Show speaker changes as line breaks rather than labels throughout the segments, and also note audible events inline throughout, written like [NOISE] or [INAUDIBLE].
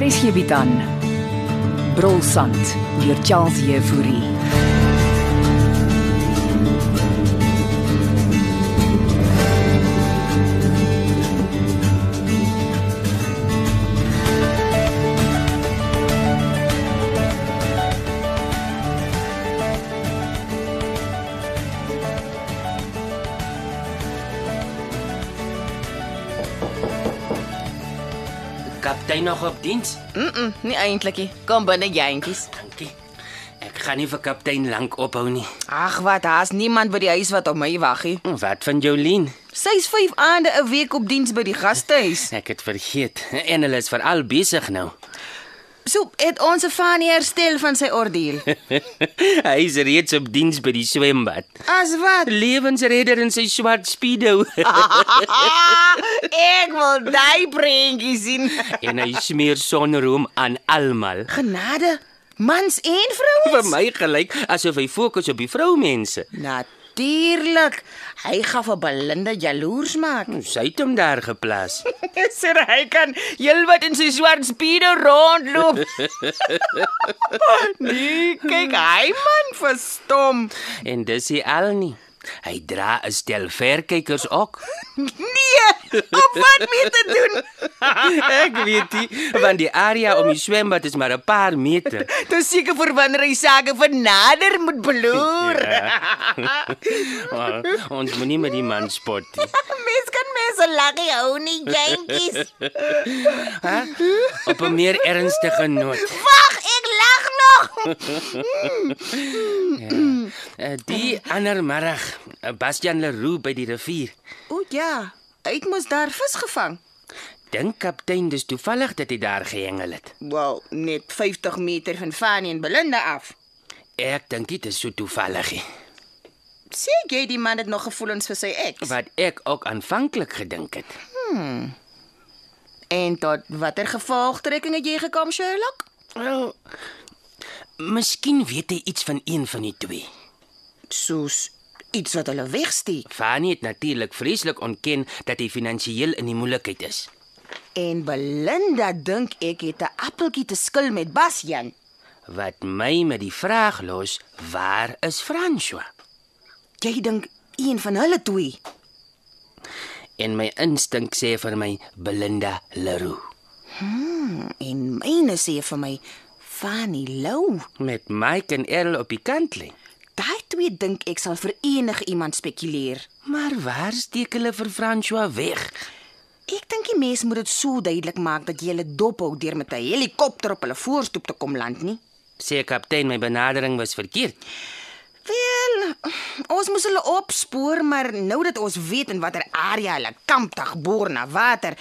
Hier is hierby dan. Brolsand deur Charles Jefouri.
Kaptein nog op diens?
Mm, nie eintlik nie. Kom binne jentjies.
Dankie. Ek gaan nie vir kaptein lank ophou nie.
Ag wat, daar's niemand by die huis wat op my wag nie.
Wat van Jolien?
Sy's 5 aande 'n week op diens by die gastehuis.
Ek het vergeet. En hulle is veral besig nou. [LAUGHS]
So het ons Stefanie herstel van sy
[LAUGHS]
ordeel.
Hy is reeds op diens by die swembad.
As wat?
Lewensredder in sy swart speedo [LAUGHS]
Ah, Ek wil daai prentjie sien.
en hy smeer sonroom aan almal.
Genade, mans en
Vir
vrouens.
my gelyk asof hy fokus op die vroumense.
Natuurlik. Hy gaan vir Belinda jaloers maak.
Sy het hom daar geplaas.
[LAUGHS] Sê hy kan heelwat in sy swart speedo rondloop. [LAUGHS] nee, kyk hy man verstom.
En dis hy al nie. Hy dra 'n stel verkykers ook.
Nee, op wat mee te doen?
Ek weet nie, want die area om die swembad is maar 'n paar meter.
Dis seker vir wanneer hy sake vernader moet beloer.
Maar ons moenie met die man spot nie.
Mens kan mense laggie hou nie, jentjies.
Op 'n meer ernstige noot.
Wag, ek lag nog.
Eh, Die ander middag, eh, Bastian Leroux by die rivier.
O ja, hy het mos daar vis gevang.
Dink kaptein dis toevallig dat hy daar gehengel het.
Wel, net 50 meter van Fanny en Belinda af.
Ek dink dit is so toevallig. nie.
Sê jy die man het nog gevoelens vir sy eks?
Wat ek ook aanvanklik gedink het.
En tot watter gevolgtrekking het jy gekom, Sherlock?
Wel, miskien weet hy iets van een van die twee.
Soos iets wat hulle wegsteek.
Fanny het natuurlik vreeslik ontken dat hy finansiëel in die moeilikheid is.
En Belinda dink ek het 'n appeltjie te skil met Basjan.
Wat my met die vraag los, waar is François?
Jy dink een van hulle twee.
En my instink sê vir my Belinda Leroux.
En myne sê vir my Fanny Lou.
Met Mike en Errol op die kant lê.
Daai twee dink ek sal vir enige iemand spekuleer.
Maar waar steek hulle vir François weg?
Ek dink die mens moet dit so duidelik maak dat jy hulle dop hou deur met 'n helikopter op hulle voorstoep te kom land nie.
Sê kaptein, my benadering was verkeerd.
Wel, ons moes hulle opspoor, maar nou dat ons weet in watter area hulle kampdag boor na water,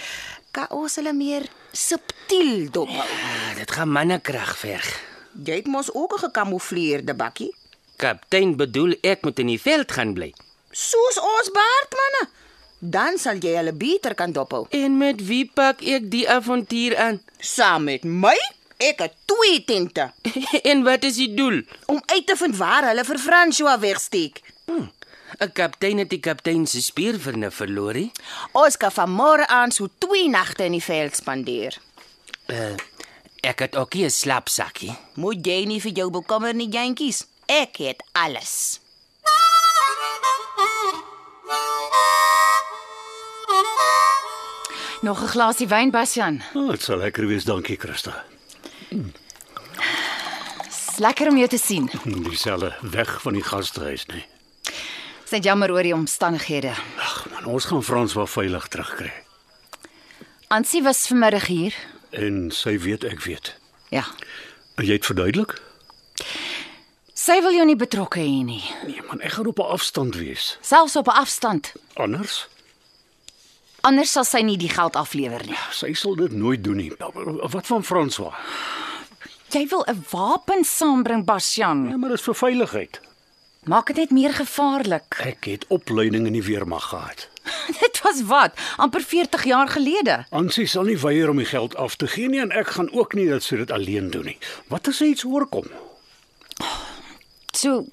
kan ons hulle meer subtiel dop.
Ah, dit gaan mannekrag verg.
Jy het mos ook 'n gekamoufleerde bakkie,
Kaptein bedoel ek moet in die veld gaan bly.
soos ons baardmanne. Dan sal jy hulle beter kan dophou.
En met wie pak ek die avontuur aan? [LAUGHS]
Saam met my, ek het twee tente
en wat is die doel?
om uit te vind waar hulle vir François wegsteek.
'n Kaptein het die kaptein se spierverne verloor. hè?
Ons kan van môre aan so twee nagte in die veld spandeer.
Uh, ek het ook hier 'n slaapsakkie.
Moet jy nie vir jou bekommer nie, jentjies. Ek het alles.
Nog 'n glasie wyn, Bastian.
Oh, dit sal lekker wees, dankie Christa.
Dis lekker om jou te sien.
Dieselfde weg van die gastehuis, nee. nê.
Dis net jammer oor die omstandighede.
Ag man, ons gaan Frans wel veilig terugkry.
Ansie was vanmiddag hier.
En sy weet ek weet.
Ja.
En jy het verduidelik?
Sy wil jou nie betrokke hê nie,
Nee man, ek gaan op 'n afstand wees.
selfs op 'n afstand.
Anders,
Anders sal sy nie die geld aflewer nie.
sy sal dit nooit doen nie. Nou, Wat van François?
Jy wil 'n wapen saambring, Bastian.
Ja, maar dit is vir veiligheid.
Maak dit net meer gevaarlik. [LAUGHS]
Ek het opleiding in die weermag gehad.
Dit was wat, amper 40 jaar gelede.
Ansie sal nie weier om die geld af te gee nie en ek gaan ook nie dat sy dit alleen doen nie. Wat as hy iets oorkom?
So,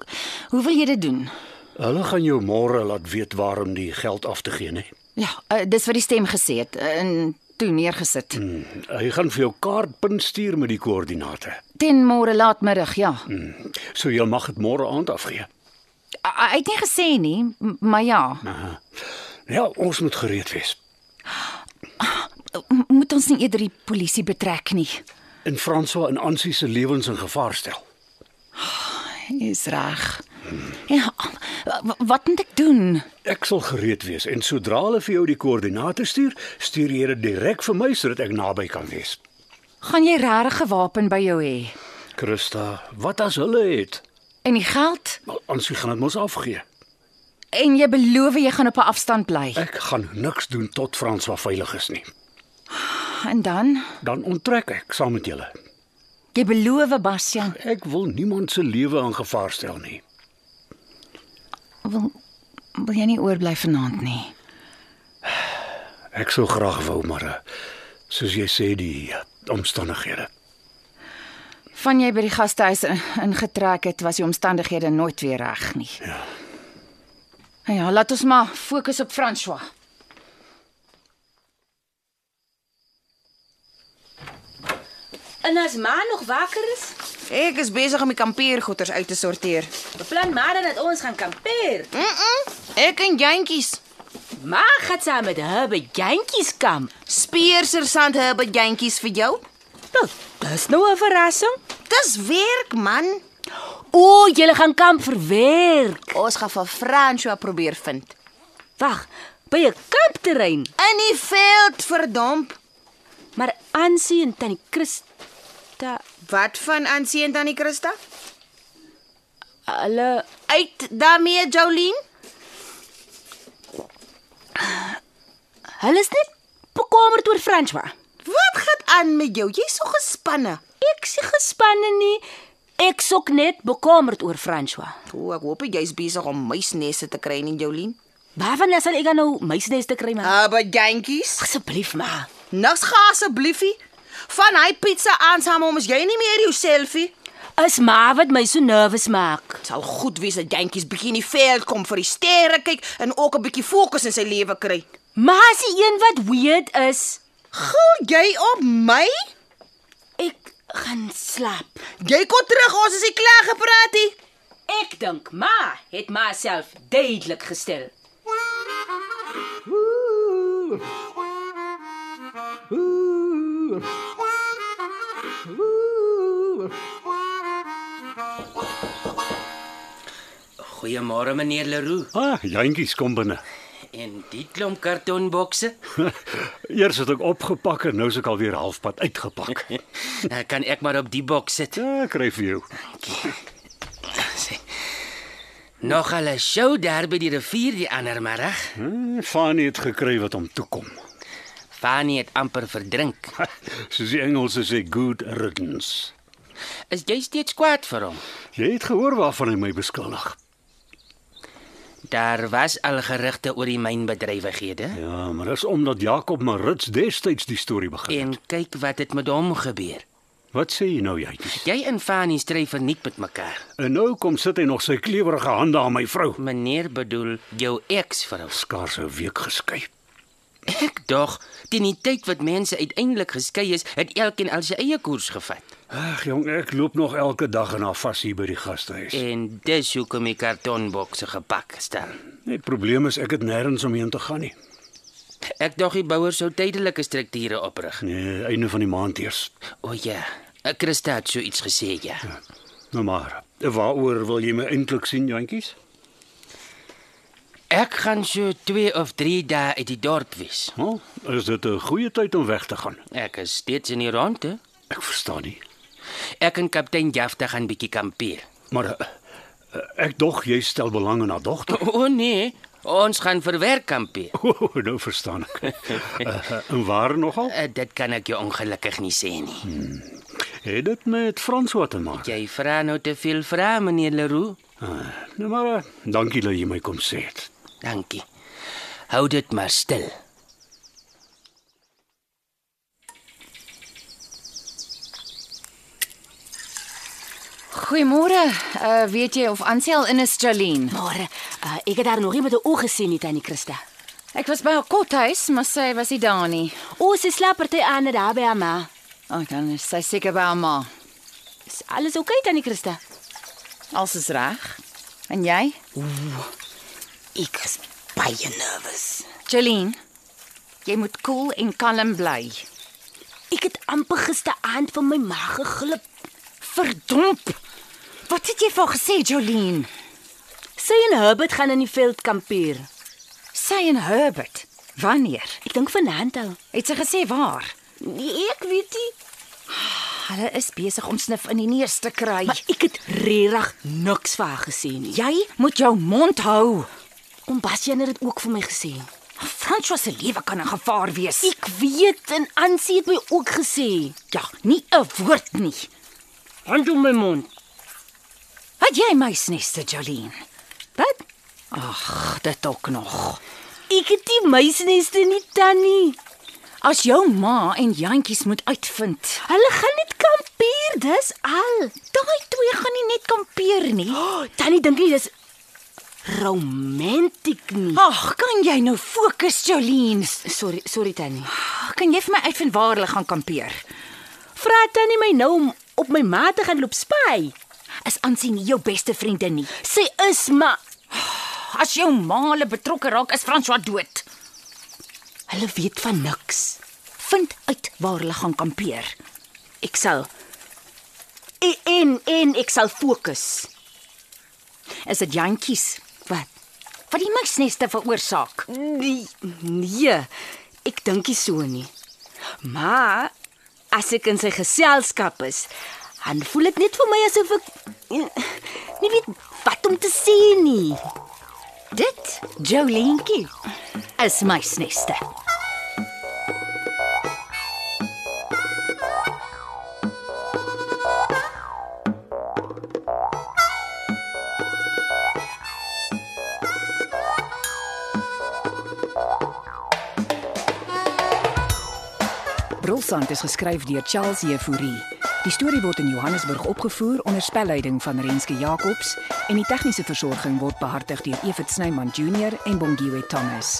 hoe wil jy dit doen?
Hulle gaan jou môre laat weet waarom die geld af te gee, nee. nê?
Ja, uh, dis wat die stem gesê het eh, en toe neergesit. Mm.
Mhm. Hy gaan vir jou kaartpunt stuur met die koördinate.
Ten môre laatmiddag, ja. Mm.
So jy mag dit môre aand afgee.
Hy het nie gesê nie, m- maar ja.
Ja, ons moet gereed wees.
M- Moet ons nie eerder die polisie betrek nie.
En François en Ansie se lewens in gevaar stel.
Jy's reg. Ja, w- wat moet ek doen?
Ek sal gereed wees en sodra hulle vir jou die koördinate stuur, stuur jy dit direk vir my sodat ek naby kan wees.
Gaan jy regtig 'n wapen by jou hê?
Christa, wat as hulle het?
En die geld?
Wel, Ansie gaan dit mos afgee.
En jy beloof jy gaan op 'n afstand bly.
Ek gaan niks doen tot François veilig is nie.
En dan?
Dan onttrek ek saam met julle.
Jy beloof, Bastian.
Ek wil niemand se lewe in gevaar stel nie.
Wil wil jy nie oorbly vanaand nie?
Ek sou graag wou, maar eh, soos jy sê die eh, omstandighede.
Van jy by die gastehuis in- ingetrek het, was die omstandighede nooit weer reg nie. Ja. Nou ja, laat ons maar fokus op François.
En as ma nog wakker is,
Ek is besig om die kampeergoeders uit te sorteer.
beplan ma dan dat ons gaan kampeer.
Mm -mm, ek en jantjies.
Ma gaan saam met haar by jantjies kamp.
Speersersant Herbert jantjies vir jou.
Nou, dis nou 'n verrassing.
Dis werk man.
O, julle gaan kamp vir werk.
Ons gaan vir François probeer vind.
Wag, by 'n kampterrein.
In die veld verdomp.
Maar Ansie en Tannie Christa,
Wat van Ansie en Tannie Christa?
hulle
Uit daarmee Jolien.
hulle is net bekommerd oor François.
Wat gaan aan met jou? Jy's so gespanne.
Ek se gespanne nie. Ek sok net bekommerd oor François.
O, ek hoop jy's besig om muisnesse te kry in Jolien.
Waarvan sal ek dan nou meisies te kry maar?
Ah, by jantjies.
Asseblief ma.
Niks gaan assebliefie. Van hy pizza aansaam hom is jy nie meer jouself nie.
Is ma wat my so nervus maak.
Dit sal goed wees dat jantjies bietjie in die veld kom vir die sterre kyk en ook 'n bietjie fokus in sy lewe kry.
Ma is die een wat weird is.
Gil jy op my?
Ek gaan slaap.
Jy kom terug, ons is nie klaar gepraat nie.
Ek dink ma het myself duidelik gestel.
Goeiemôre meneer Leroux.
Ah, jantjies kom binne. [LAUGHS]
En die klomp kartonbokse, [LAUGHS]
Eers het ek opgepak en nou is ek alweer halfpad [LAUGHS] uitgepak.
Eh, kan ek maar op die boks sit. [LAUGHS]
Ja, kry vir jou.
Nog al 'n show daar by die rivier die ander middag.
Hmm, Fanny het gekry wat hom toe kom. [LAUGHS]
Fanny het amper verdrink.
Soos die Engelse sê good riddance.
Is jy steeds kwaad vir hom?
Jy het gehoor waarvan hy my beskuldig.
Daar was al gerugte oor die mynbedrywighede.
Ja, maar dis omdat Jakob Marits destyds die storie begin.
En kyk wat het met hom gebeur.
Wat sê jy nou, jantjies?
Jy en Fanny stry verniet met mekaar.
En nou kom sit hy nog sy klewerige hande aan my vrou.
Meneer bedoel jou eksvrou.
Skaars 'n week geskei.
Ek dog teen die tyd wat mense uiteindelik geskei is, het elkeen al sy eie koers gevat.
Ag jong, ek loop nog elke dag en af vas hier by die gastehuis.
En dis hoekom die kartonbokse gepak staan.
Die probleem is ek het nêrens omheen te gaan nie.
Ek dog die bouers sou tydelike strukture oprig.
Nee, einde van die maand eers.
O ja, ek Christa het so iets gesê ja.
Nou maar, waaroor wil jy my eintlik sien, jantjies?
Ek gaan so 2 of 3 dae uit die dorp wees.
Wel, is dit 'n goeie tyd om weg te gaan?
Ek is steeds in die ronde.
Ek verstaan nie.
Ek en kaptein Jafta gaan bietjie kampeer.
Maar eh, eh, ek dog jy stel belang in haar dogter. [LAUGHS]
O oh, nee, ons gaan vir werk kampeer.
O, oh, nou verstaan ek. Eh, eh, En waar nogal?
Uh, dit kan ek jou ongelukkig nie sê nie.
Het dit met François te maak?
Jy vra nou te veel vrae, meneer Leroux.
Ah, nou maar, eh, dankie dat jy my kom sê het.
Dankie. Hou dit maar stil.
Goeiemôre. Uh weet jy of Ansel in is Jolene?
Maar uh, ek het haar nog nie met 'n oog gesien nie, tannie Christa.
Ek was by haar kothuis, maar sy was nie daar nie.
Ons is slapperty aan daar by haar ma.
Ag, oh, dan is sy seker by haar ma.
Is alles oukei, okay, tannie Christa?
Alles is reg. En jy?
Ek is baie nervus.
Jolene, jy moet koel en kalm bly.
Ek het amper gisteraand van my maag geglip.
Verdomp. Wat het jy vir haar gesê, Jolene?
Sy en Herbert gaan in die veld kampeer.
Sy en Herbert. Wanneer?
Ek dink vanaand al.
Het sy gesê waar?
Nee, ek weet nie,
Hulle is besig om snif in die neus te kry.
maar ek het regtig niks vir haar gesê nie.
jy moet jou mond hou.
Oom Bastian het dit ook vir my gesê.
François se lewe kan in gevaar wees.
Ek weet en Ansie het my ook gesê.
ja, nie 'n woord nie.
Hand op my mond.
Wat jy my sneste, Jolene.
Wat?
Ag, dit ook nog.
Ek het die meisneste nie tannie.
As jou ma en Jantjies moet uitvind,
Hulle gaan net kampeer, dis al.
daai twee gaan nie net kampeer nie.
Oh, tannie dink nie dis romantiek nie.
Ag, kan jy nou fokus, Jolene?
Sorry, sorry tannie.
Kan jy vir my uitvind waar hulle gaan kampeer?
Vra tannie my nou om op my ma te gaan loop spy.
Is Ansie nie jou beste vriendin nie?
Sy is maar
As jou ma hulle betrokke raak, is François dood.
hulle weet van niks.
Vind uit waar hulle gaan kampeer.
Ek sal en en, en ek sal fokus.
Is dit Jantjies
Wat?
wat die muisneste veroorsaak?
Nee, nee. Ek dink nie so nie. Maar as ek in sy geselskap is, dan voel dit net vir my asof ek eh, nie weet wat om te sê nie.
Dit, Joleentjie, is muisneste.
Brulsand is geskryf deur Charles Jefouri. Die storie word in Johannesburg opgevoer onder spelleiding van Renske Jacobs en die tegniese versorging word behartig deur Evit Snyman Junior en Bongwe Thomas.